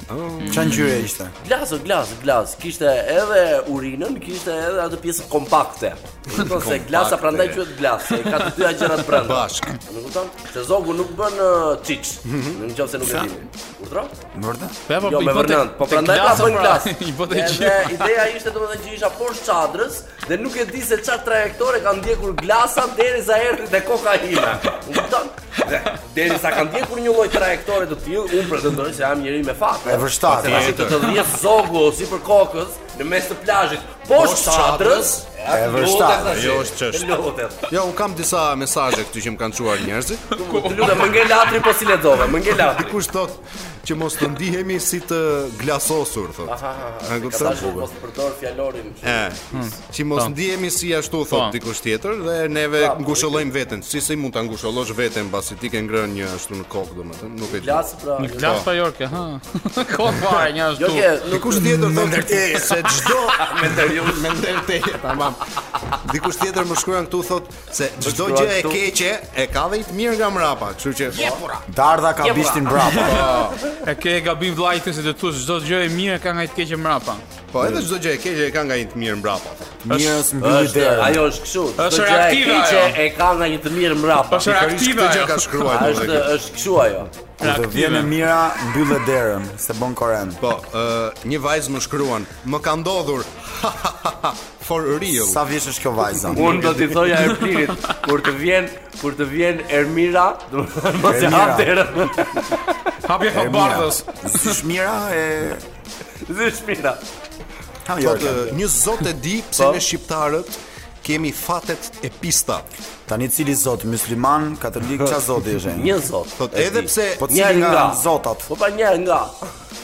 Qa ngjyre ishte? Glas, o glas, glas. Kishte edhe urinën, kishte edhe atë pjesë kompakte. Nuk kupton se glasa prandaj quhet glas, se ka të dyja gjërat brenda. Bashk. Nuk kupton? Se zogu nuk bën uh, çiç. Në qoftë se nuk e dini. Urdhro? Më vërtet? Dhe po Jo, i me bote- vërnant, po te prandaj ta glasa, bën pra, glas. I bote Edhe gjithë. ideja ishte domethënë që isha poshtë çadrës dhe nuk e di se çfarë trajektore ka ndjekur glasa derisa erdhi te kokaina. U kupton? Dhe Derisa ka ndjekur një lloj trajektore të tillë, unë pretendoj se jam njëri me fat. E vërshtatë. Se tash të të dhjetë zogu si për kokës në mes të plazhit, poshtë çadrës. E vërshtatë. Jo, është çështë. Lutet. Jo, un kam disa mesazhe këtu që më kanë çuar njerëzit. Të lutem, më ngel latri po si lexova, më ngel latri. Dikush thot që mos të ndihemi si të glasosur thot. Aha, Ka dashur mos të përdor fjalorin. E, që mos ndihemi si ashtu Po. thot dikush tjetër dhe neve ngushëllojmë veten. Si si mund ta ngushëllosh veten pasi ti ke ngrënë një ashtu në kokë domethënë, nuk e di. Glas pra. Në glas pa Jorke, ha. Ko fare një ashtu. Jo ke, nuk Dikush tjetër thot se çdo me ndërtim me ndërtim, tamam. Dikush tjetër më shkruan këtu thot se çdo gjë e keqe e ka dhe i të mirë nga mrapa, kështu që Dardha ka Jo, po. bishtin brapa E ke gabim vllajtë se do të thosh çdo gjë e mirë ka nga i të keqe mrapa. po edhe çdo gjë e keqe e ka nga i të mirë mbrapa. Mirës mbi një Është, derë ajo është kështu. çdo Është gjë e reaktive keqe ajo. E ka nga një të mirë mbrapa. Pikërisht Është reaktive këtë gjë ajo. ka shkruar A, domethënë. Është është kështu ajo. Kur të vjen e mira, mbyllë derën Se bon koren Po, ë, një vajzë më shkruan, më ka ndodhur for real. Sa vjeç është kjo vajza? Unë do t'i thoja Erplinit kur të vjen kur të vjen Ermira, do të thonë mos e Ermira. hap derën. Hapje E mira. fabardhës. Zysh mira e Zy shpina. Ha Thotë, Jorka. një zot Po, e di pse Po. ne shqiptarët kemi fatet e pista. Tani cili zot musliman, katolik, ç'a zoti është? Një zot. Thot, e edhe di. pse- Po Një cili nga nga. zotat? Po pa një nga.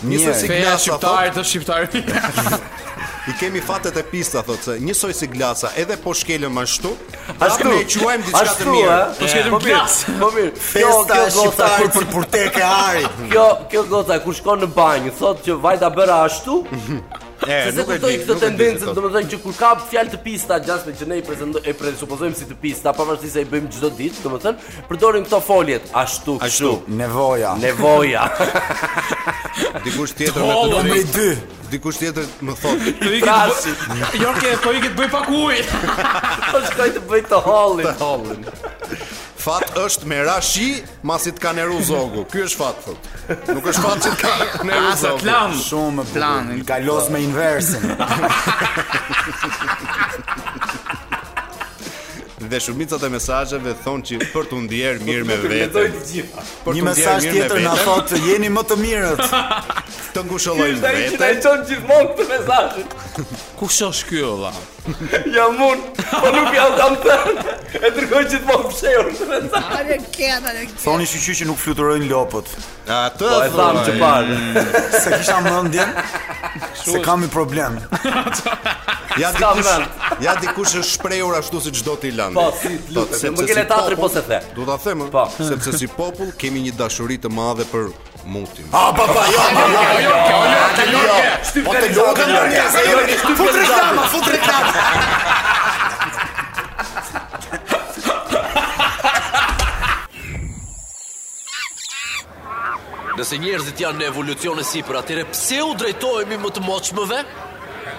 Njësoj si Mirë. Feja glasa, thot, shqiptarit po. të shqiptarit. Po i kemi fatet e pista, thotë, se njësoj si glasa, edhe po shkelëm ashtu, Ashtu. prapë ne e quajmë diçka të ashtu, mirë. ë? Po shketëm mirë, glas. Po mirë. Kjo Festa kjo e gota kur shqiptarit për purteke ari. kjo kjo gota kur shkon në banjë, thotë që vajta bëra ashtu, E, Se se nuk e kuptoj di, këtë nuk e di. tendencë, thot. domethënë që kur ka fjalë të pista gjasme që ne i prezantojmë e presupozojmë si të pista, pavarësisht se i bëjmë çdo ditë, domethënë përdorim këto foljet ashtu kështu. Nevoja. Nevoja. Dikush tjetër më Tolli. Numri 2. dikush tjetër më thot, Do i Trasi. këtë Jorke, po i këtë bëj pak ujë. Po shkoj të bëj të hallin. Hallin. Fat është me rashi, masi të ka neru zogu. Ky është fat thot. Nuk është fat që të ka neru Asa zogu. klam. Shumë më Planin. bukur. Kalos me inversin. Dhe shumicat e mesazheve thonë që për të ndjerë mirë me Lexoj veten. të gjitha. Për t'u Një ndjerë mesazh mirë me tjetër na veten, thotë jeni më të mirët. të ngushëllojmë Ai që na vete. i çon gjithmonë këtë mesazh. Kush është ky olla? Jam unë, po nuk jam tam thënë. E dërgoj gjithmonë fshehur këtë mesazh. Ale kena, ale kena. Thoni shqyqy që nuk fluturojnë lopët Atë Po e thamë që parë. Se kisha mendjen Se kam i problem Ja S'ka dikush, vend. ja dikush është shprehur ashtu si çdo ti lënë. Po, si t'lutem, Po, sepse më kele si tatri, po popull- se the. Do ta them, Po. po. sepse si popull kemi një dashuri të madhe për mutin. A, pa, pa, jo, pa, jo, jo, jo, jo, Po të logën në njëse, jo, fut reklama, fut reklama Nëse njerëzit janë në evolucion e sipër, atëre pse u drejtohemi më të moçmëve? Ë?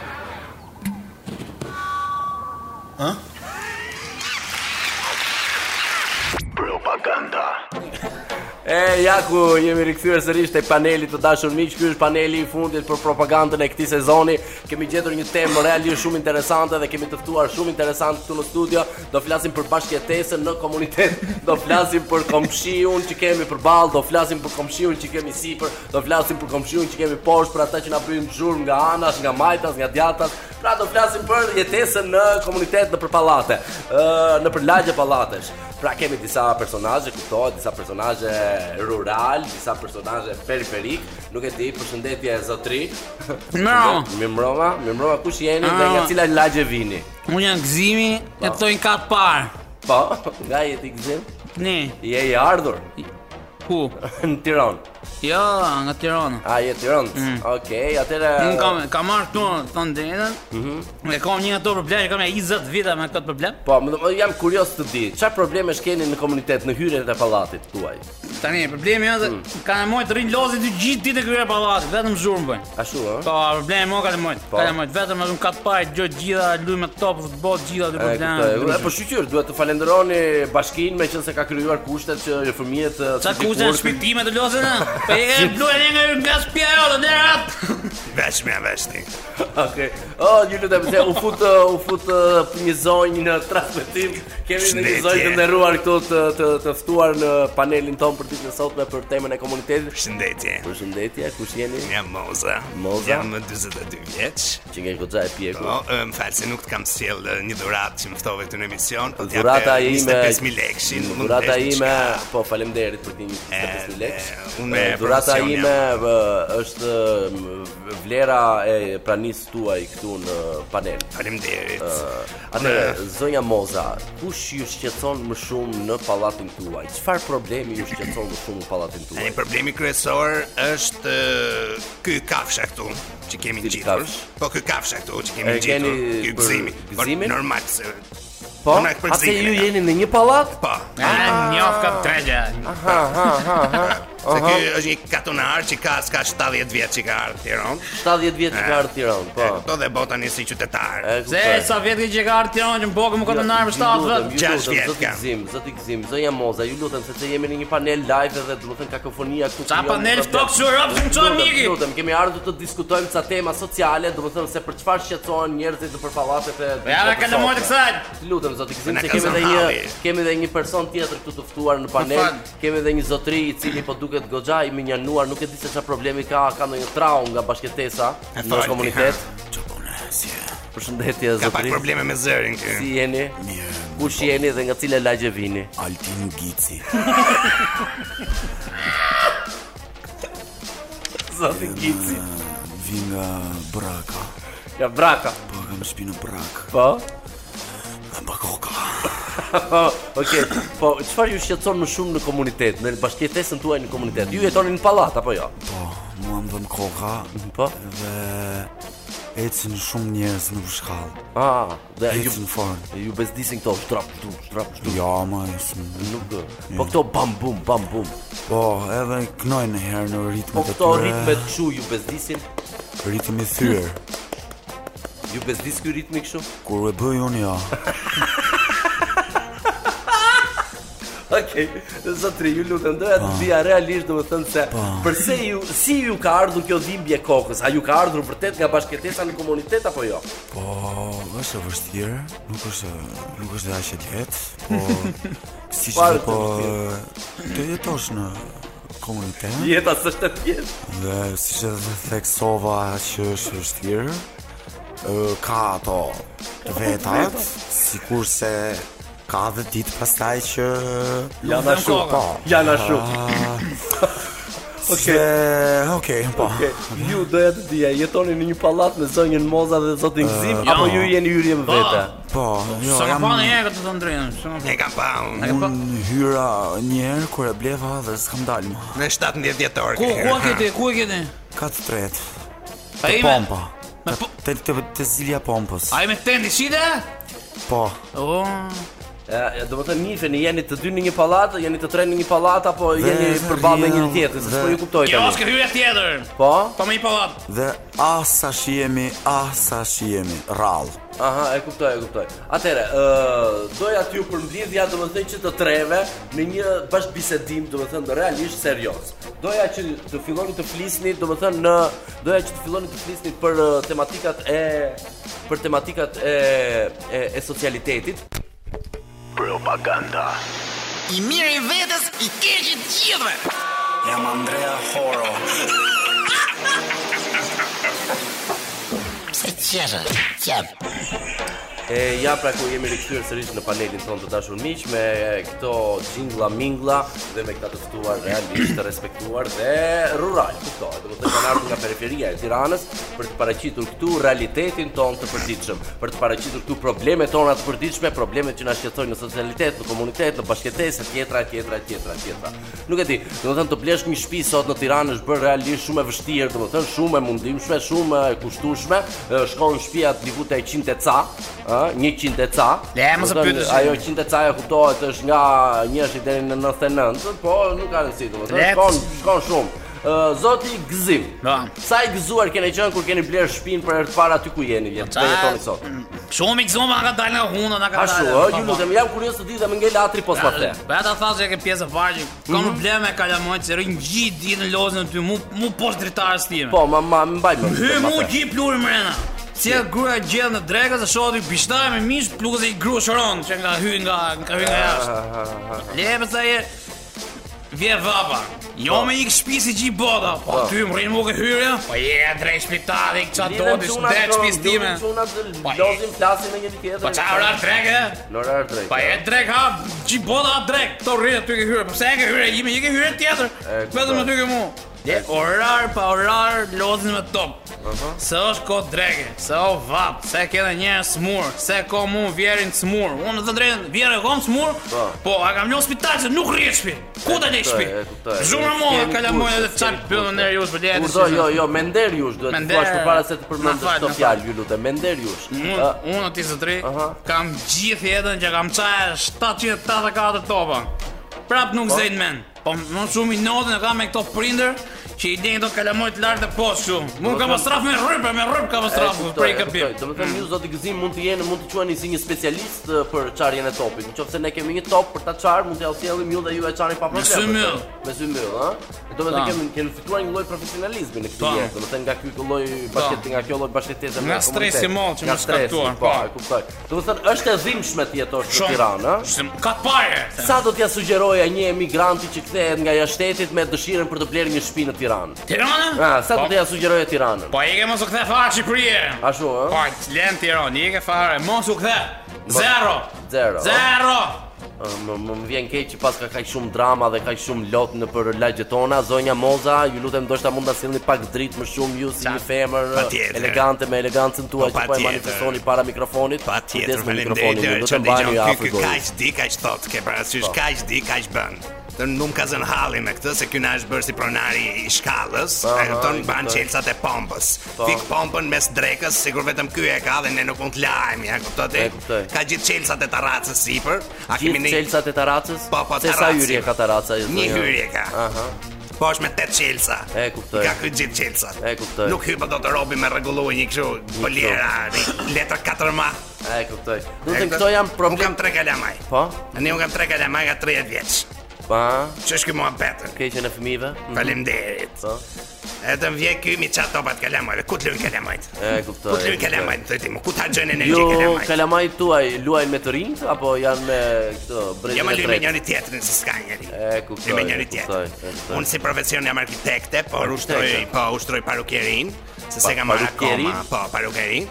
E, ja ku jemi rikthyer sërish te paneli të dashur miq. Ky është paneli i fundit për propagandën e këtij sezoni. Kemi gjetur një temë realisht shumë interesante dhe kemi të ftuar shumë interesant këtu në studio. Do flasim për bashkëjetesën në komunitet, do flasim për komshiun që kemi përballë, do flasim për komshiun që kemi sipër, do flasim për komshiun që kemi poshtë, për ata që na bëjnë zhurmë nga anash, nga majtas, nga djatas. Pra do flasim për jetesën në komunitet, nëpër pallate, ë nëpër lagje pallatesh. Pra kemi disa personazhe, kuptohet, disa personazhe rural, disa personazhe periferik, nuk e di, përshëndetje zotri. Mbrëma. Mi mbroma, mi mbroma kush jeni dhe nga cila lagje vini? Unë janë gëzimi e të tojnë katë parë. Po, nga jeti gzim? Ne, Je i ardhur ku? në Tiranë. Jo, nga Tirana. A je Tiranë? Okej, atëra Unë kam, kam marrë këtu të në drejtën Mhm. Dhe kam një ato problem, që kam e 20 vita me këtë problem Po, më më- jam kurios të di, çfarë probleme shkeni në komunitet, në hyrjen e pallatit tuaj? Tani, problemi është Mm. se kanë mojt të rinë lozi të gjithë ditë e këtyre pallatit, vetëm zhurmë bëjnë. Ashtu, ëh? Po, problemi mo kanë mojt. Po. Kanë mojt vetëm ashtu katë parë, gjë gjitha, lujme top futboll, gjitha ato E, kuptoj. E, Po probleme. shqyr, duhet të falenderoni bashkinë me qenë se ka krijuar kushtet që fëmijët e, Sa të kuza dikur- në shpirtime të lozën? Po e kanë bluar një nga nga spia jote derat. Veç me veshni. Okej. Oh, ju lutem se u fut uh, u fut uh, një zonjë në transmetim. Kemi në një Shëndetje. zonjë të nderuar këtu të të, të ftuar në panelin ton për ditën e sotme për temën e komunitetit. Shëndetje. Përshëndetje, kush jeni? Jam Moza. Moza? Jam 42 vjeç. Që ngjen goxha e pjekur. Po, e, më falë se nuk të kam sjell e, një dhuratë që më ftove këtu në emision, po t'jap Dhurata e, ime 25000 lekshin. mund Durata t'esh ime, diçka. po faleminderit për timin 25 lekë. e, unë me Durata profesion ime vë, është m, vlera e pranisë tuaj këtu në panel. Faleminderit. Atëherë, zonja Moza, kush ju shqetëson më shumë në pallatin tuaj? Çfarë problemi ju shqetëson më shumë në pallatin tuaj? Tani problemi kryesor është e, ky kafsha këtu që kemi Cili ngjitur. kafsh? Po ky kafsha këtu që E kemi ngjitur, keni ky për gëzimi. Po gëzimin? normal se. Po, Unë e për atë gëzimin ju e kam. jeni në një pallat? Po. A njof ka tregja. Ha, ha, ha, ha. Se ky është një katonar që ka ska 70 vjet që ka ardhur në Tiranë. 70 vjeç që ka ardhur në Tiranë, po. Këto dhe bota një si qytetar. E Se kuptoj. sa vjet që ka ardhur Tiranë që në bokë më ka të ndarë me Jo, 7 Ju lutem, vetë. ju Gjashtë lutem, vjet zoti kam. Gzim, zoti Gzim, zonja Moza, ju lutem sepse jemi në një panel live dhe do të thënë kakofonia këtu. Sa krijon panel problem. ftohtë që rrap, s'm çon Ju lutem, miki. ju Lutem, kemi ardhur të diskutojmë ca tema sociale, do të thënë se për çfarë shqetësohen njerëzit nëpër pallatet e. Ja na kanë jo. mojt kësaj. Lutem zoti Gzim Na se ka kemi edhe zënë një halli. kemi edhe një person tjetër këtu të ftuar në panel. Më Kemi edhe një zotëri i cili po duket goxha i minjanuar, nuk e di se çfarë problemi ka, ka ndonjë traumë nga bashkëtesa në falti, komunitet. Që punë, si e Përshëndetje Ka pak zotëri. probleme me zërin ky. Si jeni? Mirë, Kush jeni dhe nga cila lagje vini? Altin Gici Zoti Gici. Vi nga Braka Ja braka. Po, kam shpinë Brak Po. Dhe mba koka Okej. Po çfarë ju shqetëson më shumë në komunitet, në bashkëtesën tuaj në komunitet? Ju jetoni në pallat apo jo? Po, mua më dhëm koka Po. Dhe Ecin shumë njerëz në shkallë Ah, dhe ju Ecin fort ju bezdisin këto trap du, trap du. Ja, ma, ecin Nuk do. Po këto bam bum, bam bum. Po, edhe knojnë një herë në ritme Po të këto tyre ritme të çu ju bezdisin, Ritmi thyr ju bezdis ky ritmi kështu. Kur e bëj unë jo. ja Okej, zotri, ju lutem doja të dija realisht domethënë se përse ju si ju ka ardhur kjo dhimbje kokës? A ju ka ardhur vërtet nga bashkëtesa në komunitet apo jo? Po, është e vështirë, nuk është nuk është aq e lehtë, po siç Fare dhe të po të jetosh në komunitet Jeta s'është e thjeshtë. Dhe si që dhe theksova që është vështirë ë, Ka ato të vetat Si kurse ka dhe ditë pastaj që Janë ashtu. Po Janë ashtu. Okej Okej, po Ju doja të dija, jetoni në një pallat me zonjën Moza dhe zotin Gzim apo ju jeni hyrje më vete? Po, jo, Sa ka jam pa në herë këtë të ndrejnë sa ka E kam pa unë pa- unë hyra njerë kur e bleva dhe s'kam dalë më në 17 dhjetor. Ku, ku e kete, ku e kete? Ka të tret A Të i me, pompa me po- Të, të, të zilja pompës a i me tendi shida? Po, O, Ë, do të thotë nifeni, jeni të dy në një pallat, jeni të tre në një pallat apo jeni përballë me njëri rrjedh, tjetrin, se dhe- po ju kuptoj kjo tani. është hyrja tjetër Po? Po me i palat dhe ah sa shihemi, ah sa shihemi Rallë Aha, e kuptoj, e kuptoj. Atëre, ë doja t'ju përmbledhja domethënë që të treve në një bashkëbisedim domethënë realisht serioz. Doja që të filloni të flisni domethënë në doja që të filloni të flisni për ë, tematikat e për tematikat e e, e socialitetit. I mirë i vetës, i keq i të gjithëve. Jam Andrea Horo Pse qeshe? Qep. E ja pra ku jemi rikthyer sërish në panelin tonë të dashur miq me këto jingla mingla dhe me këta të ftuar realisht të respektuar dhe rural, kuptoj. Domethënë kanë ardhur nga periferia e Tiranës për të paraqitur këtu realitetin tonë të përditshëm, për të paraqitur këtu problemet tona të përditshme, problemet që na shqetësojnë në socialitet, në komunitet, në bashkëtesë, etj, etj, etj, etj. Nuk e di, domethënë të blesh një shtëpi sot në Tiranë është bërë realisht shumë e vështirë, domethënë shumë e mundimshme, shumë e kushtueshme. Ë, Shkon në shtëpi atë diku te 100 e ca, ë, 100 e ca. Le, mos e Domethënë, pyetësh. Ajo 100 e ca e kuptohet është nga 1 deri në 99, po nuk ka rëndësi domethënë. Le, Po. Shkon, shkon shumë. Ë, zoti Gzim. Da. Sa i gëzuar keni qenë kur keni bler shtëpinë për herë të parë aty ku jeni vjet, Sa- të jetoni sot. Shumë i gëzoma nga dalë nga huna nga ka Ashtu, dalë po, ë, ju lutem, jam kurioz të di dhe më ngel atri pos pa the. Beta tha se e ke pjesë e parë që Mhm. Kam probleme e kalamajt se rënë gjitë ditë në lozën ty Mu, mu poshtë dritarës time Po, ma ma mbaj më. Hy mu gji pluri mrena Si e grua e gjellë në drekës e shodi bishtaj me mish plukës e i grua shëron që nga hy nga, nga hy nga jashtë Le përsa e Vje vapa Po. Jo me i këshpi si gji boda Po ty më rrinë mu ke hyrja Po je e drejt shpitali këqa do të shdet shpis time Çuna Pa, e- lozim flasim me njëri tjetrin. Po qa ora dreke Në orar drejt. Pa e drek ha, gji boda ha drek Këto rrinë aty ke hyrë, përse e ke hyrë e jime, je ke hyrë tjetër kuptoj. Vetëm aty ke mu Je orar pa orar lozin me top Se është ko dreke, se o vap, se kene njerë smur Se ko mu vjerin smur Unë të drejnë, vjerë e kom smur Po. Po, a kam lënë spital se nuk rrinë shpi Ku të lejë shpi? e kuptoj. Zhurë Keni mu, kurs, kalamojnë edhe keni qaj pëllën nërë jush për lejë Kurdo, jo, jo, me nder jush duhet Me të nder- thuash përpara se të Na përmendësh fal, këto na fal. fjalë, ju lutem, me nder jush. Unë, Ë, unë ti së tri, Aha. kam gjithë jetën që kam qaja 784 topa. Prap nuk zëjnë men. Po më shumë i notën e kam me këto prinder që i denjë do kalamojt lartë e poshtë shumë. Mu ka pastraf me rrypë, me rrypë ka Po, e pastraf, kuptoj, prej e këpim. kuptoj. Domethënë ju zoti Gëzim mund të jeni, mund të quheni si një specialist ë, për çarjen e topit. Nëse ne kemi një top për ta çar, mund t'ja sjellim ju dhe ju e çani pa problem. sy myll. Me sy myll, ha? Domethënë Ta. kemi kemi fituar një lloj profesionalizmi në Ta. këtë jetë. Domethënë nga ky lloj bashkëtet, nga kjo lloj bashkëtese Nga stresi madh që më më shkaktuar, Po, po. e kuptoj. Domethënë është e dhimbshme të jetosh në Shumë. Tiranë, ha? Shumë, Ka të pare. Sa do t'ja sugjeroja një emigranti që kthehet nga jashtëtetit me dëshirën për të blerë një shtëpi në Tiranë? Tirana? Ah, sa do Po- t'ja sugjeroja Tiranën? Po i ke mos u kthe fare Shqipërije. Ashtu, ë? Po, lem Tiranë, i ke fare, mos u kthe. Zero. Po. Zero. Zero. Ë, Më më më vjen keq që pas ka kaq shumë drama dhe kaq shumë lot në për lagjet tona, zonja Moza, ju lutem ndoshta mund ta sillni pak dritë më shumë ju si një femër patjetër. elegante me elegancën tuaj Po, që po e patjetër. manifestoni para mikrofonit. Patjetër, Kujdes me mikrofonin, ju faleminderit. lutem mbani ju Po. afër Kaq dorës. di kaq thot, ke parasysh kaq di kaq bën. Të nuk ka zënë halli me këtë se ky na është bërë si pronari i shkallës, e Aha, kupton Po, i Po. ban kuptoj. çelçat e pompës. Fik pompën mes drekës, sigur vetëm ky e ka dhe ne nuk mund të lajmë, ja kupton ti? E kuptoj. Ka gjithë çelçat e tarracës sipër. A kemi Gjithë ne çelçat e Taracës? Po, po, Se sa Taraci. hyrje ka Taraca? jo, një zonja? hyrje ka. Aha. Po është me 8 çelca. Ah. E kuptoj. I Ka ky gjithë çelçat. E kuptoj. Nuk hypa dot robi me rregulluar një kështu bolera, një letër katërma. E kuptoj. Do të këto janë Unë kam problem. 3 kalamaj. Po? Ne unë kam tre kalamaj nga 30 vjeç. Pa, Që është kjo mua betën? keqen e fëmijëve? Faleminderit. Po. E të vje ky mi çat topat kalamajve. Ku të lën kalamajt? E kuptoj. Ku të lën kalamajt? Thotë më ku ta gjën energji Ju kalamajt? kalamajt jo, tuaj luajnë me të rinjt apo janë me këto brezë Jo më të lënë me tretë? njëri tjetrin se s'ka njëri. E kuptoj. Lënë me njëri e kuptoj, tjetrin. e kuptoj. Unë si profesion jam arkitekte, por ushtroj, po ushtroj parukjerin, se se Pa- Mhm. kam marrë parukjeri? akoma, po parukjerin.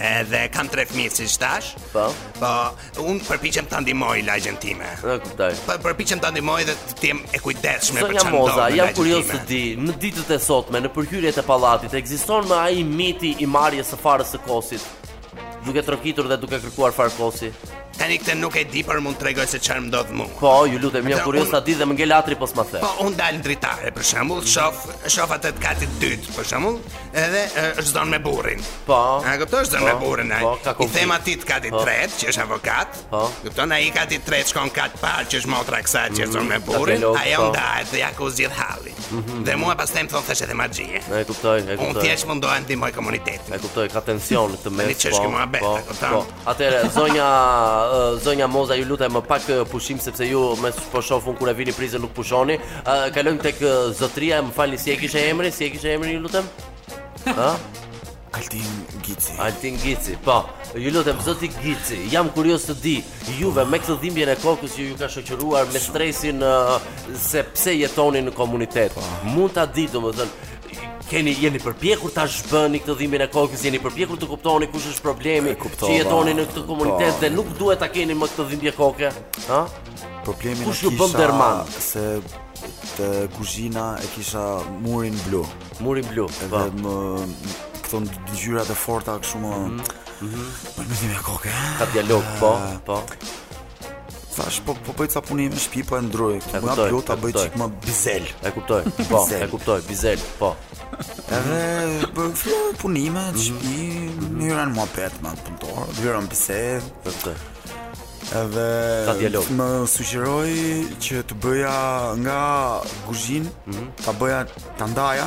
Edhe kam tre fëmijë si thash. Po. Po, unë përpiqem ta ndihmoj lagjen time. E kuptoj. Po përpiqem ta ndihmoj dhe të jem e kujdesshme për Zonja çfarë Moza, ndodh. jam kurioz të di, në ditët e sotme, në përhyrjet e pallatit, ekziston më ai miti i marrjes së farës së kosit? Duke trokitur dhe duke kërkuar farkosi. Tani këtë nuk e di, por mund t'rregoj se çfarë më ndodh mua. Po, ju lutem, jam Atëherë kurioz unë- ta di dhe më ngel atri pos ma the. Po unë dal në dritare për shembull, shof, shof atë të katit dytë për shembull, edhe e, është zonë me burrin. Po. A kupton është zonë me Po, burrin ai? po, ka I them atit katit Po. tretë që është avokat. Po. Kupton ai katit tretë shkon kat parë që është motra e kësaj që është zonë me burrin, katalog, Mm, ajo po. Mhm. ndahet dhe ja ku zgjidh hallin. Dhe mua pastaj më thon thashë edhe magjie. E kuptoj, e Unë kuptoj. thjesht mundohem të ndihmoj komunitetin. E kuptoj, ka tension këtë mes. po, Tani ç'është kjo muhabet, e kupton? Atëherë zonja ë, zonja Moza ju lutem më pak ë, pushim sepse ju më po shoh un kur e vini prizën nuk pushoni. Ë, Kalojmë tek ë, zotria, më falni si e kishe emrin, si e kishe emrin ju lutem? Ha? Altin Gici. Altin Gici, po, ju lutem zoti Gici, jam kurioz të di, juve me këtë dhimbjen e kokës që ju ka shoqëruar me stresin ë, se pse jetoni në komunitet. Po. Mund ta di domethënë keni jeni përpjekur ta zhbëni këtë dhimbjen e kokës, jeni përpjekur të kuptoni kush është problemi kuptova. që jetoni në këtë komunitet Po. dhe nuk duhet ta keni më këtë dhimbje koke, ha? Problemi Kush ju bën derman? se të kuzhina e kisha murin blu. Muri blu. Edhe Po. më këto ngjyrat e forta kështu më mm Mhm, -hmm. e koke. Ka dialog, po, po. Thash po po bëj ca punime në shtëpi po e ndroj. E Nga kuptoj, blu ta e bëj kuptoj. çik më bizel. E kuptoj. Po, Bizel. e kuptoj, bizel, po. Edhe bë filloj punime në shtëpi, hyra në muhabet me atë punëtor, hyra në bisedë. E kuptoj. Edhe Ka dialog. Më sugjeroi që të bëja nga kuzhin, Mhm. ta bëja ta ndaja,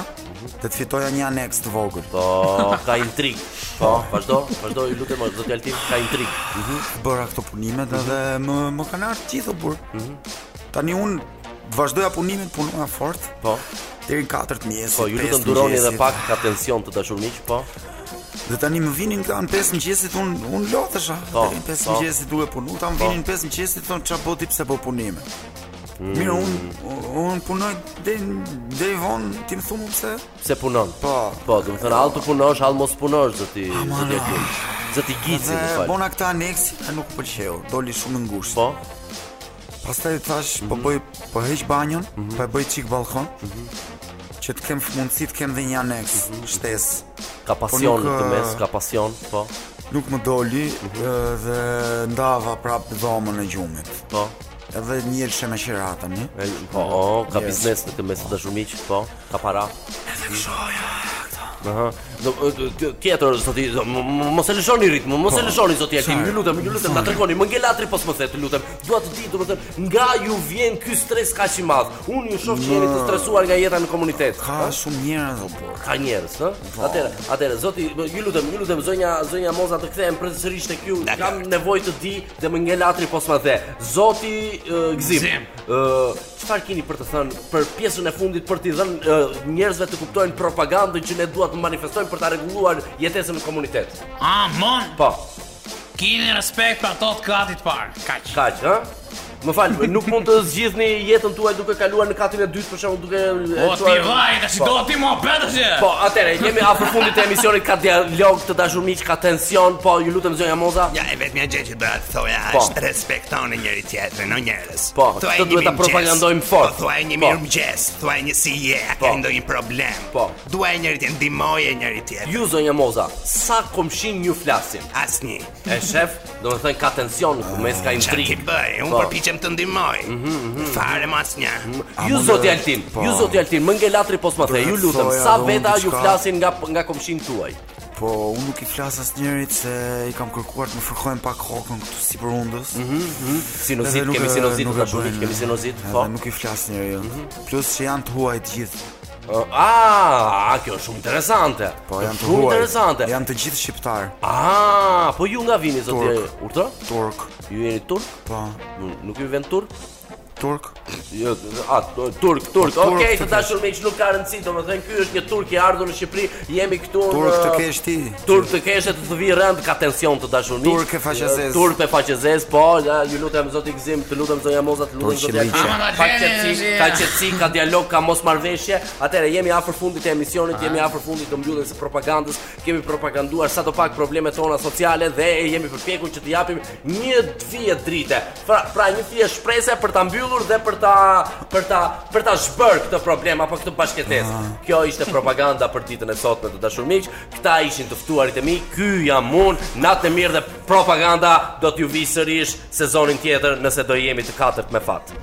dhe të fitoja një aneks të vogël. Po, ka intrig. Po, vazhdo, vazhdo, ju lutem, zoti Altin, ka intrig. Bëra këto punimet edhe Mhm. më më kanë ardhur gjithë burr. Tani un vazhdoja punimin, punoja fort Po, deri në 4 të mëngjesit. po, ju pesë lutem të duroni edhe mëngjesit. pak ka tension të dashur miq, po. Dhe tani më vinin këta në 5 mëngjesit un un lodhesha. Po, Deri në 5 po. mëngjesit duke punu, ta më vinin në 5 mëngjesit thon ç'a boti pse po punime. Mirë, un un punoj deri deri vonë, ti më thumu pse? Pse punon? Po. Po, do të thënë hall të punosh, hall mos punosh zoti, zoti Altin. Zoti Gici, më Dhe fal. bona këta aneksi, a nuk u pëlqeu, doli shumë i ngushtë. Po, Mhm. Pastaj thash, po bëj, po heq banjon, po e bëj çik balkon. Që të kem mundësi të kem dhe një aneks, Mhm. shtesë. ka pasion Po nuk, në këtë mes, ë, ka pasion, po. Nuk më doli Mhm. e, dhe ndava prapë dhomën e gjumit. Po. Edhe njëlshe me qira tani. E, Po, o, ka biznes në këtë mes të dashur miq, po, ka para. Aha. Do do- do- tjetër zoti, do- m- m- mos e lëshoni ritmin, mos e lëshoni zoti Altin. Ju lutem, ju lutem, ta tregoni, më ngelatri pos më the, ju lutem. Dua të di, domethënë, nga ju vjen ky stres kaq i madh. Unë ju shoh që jeni të stresuar nga jeta në komunitet. Ka shumë po, njerëz o burr. ka njerëz, ëh? Po. Atëherë, atëherë zoti, më- ju lutem, ju lutem zonja, zonja Moza të kthehem përsërish tek ju. Kam nevojë të di dhe më ngel atri pos më the. Zoti ë, Gzim, Gzim. ë, çfarë keni për të thënë për pjesën e fundit për t'i dhënë ë, njerëzve të kuptojnë propagandën që ne duhet të manifestojmë për ta rregulluar jetesën në komunitet? Amon, Po, kini respekt për ato të katit parë. Kaq. kaq, ëh? Më fal, nuk mund të zgjidhni jetën tuaj duke kaluar në katin e dytë për shembull duke e O, ti çuar- vaj, tash Po. do ti mua betash. Po, atëre, jemi afër fundit të emisionit, ka dialog të dashur miq, ka tension, po ju lutem zonja Moza. Ja, e vetëmja gjë që doja të thoja Po. është respektoni njëri tjetrin, o njerëz. Po, Thuaj këtë një duhet ta mirëmëngjes, propagandojmë fort. Po, thuaj një Po. mirëmëngjes, thuaj një si je, a Po. ke ndonjë problem. Po. Duaj njëri tjetrin, ndihmoje njëri tjetrin. Ju zonja Moza, sa komshin ju flasin? Asnjë. E shef, do të thënë ka tension, ku mes ka Çfarë ti intrigë. bëj? Unë Po. Mhm, përpiqem të ndihmoj. Fare më asnjë. Ju mund zoti të- Altin, po. ju zoti Altin, më ngelatri pos më the, Duhet ju lutem, thoja sa dhe unë veta ju diçka. flasin nga nga komshin tuaj? Po, unë nuk i flas asnjërit se i kam kërkuar të më fërkojnë pak hokën këtu sipër undës. Sinozit, Edhe Mhm. nuk kemi e- sinozit nuk e të dashur miq, bëjnë. kemi sinozit, Edhe po. Mhm. nuk i flas njeriu. Plus që janë të huaj të gjithë. Ah, kjo është shumë interesante. Po janë të Shumë huaj. interesante. Janë të gjithë shqiptar, Ah, po ju nga vini zoti? Turk. Urtë? turk. Ju jeni turk? Po, Nuk ju vjen turk? turk? Jo, a t- turk, turk. Po, Okej, të dashur miq, nuk ka rëndësi, domethënë ky është një turk i ardhur në Shqipëri. Jemi këtu Turk të në- kesh ti. Turp të keshe të të vi rënd ka tension të dashur miq. Turp e faqezes. Turp e faqezes, po, ja, ju lutem zoti Gzim, të lutem zonja Moza, të lutem Turp zoti Akçe. qiliqe. Ka qetësi, ka qetësi, ka dialog, ka mos marrëveshje. Atëherë jemi afër fundit të emisionit, jemi afër fundit të mbylljes së propagandës. Kemi propaganduar sa të pak problemet tona sociale dhe jemi përpjekur që të japim një fije drite. Pra, pra një fije shprese për ta mbyllur dhe për ta për ta për ta zhbër këtë problem apo këtë bashkëtesë. Kjo ishte propaganda për ditën e sotme të dashur miq. Këta ishin të ftuarit e mi. Ky jam unë, natë e mirë dhe propaganda do t'ju vi sërish sezonin tjetër nëse do jemi të katërt me fat.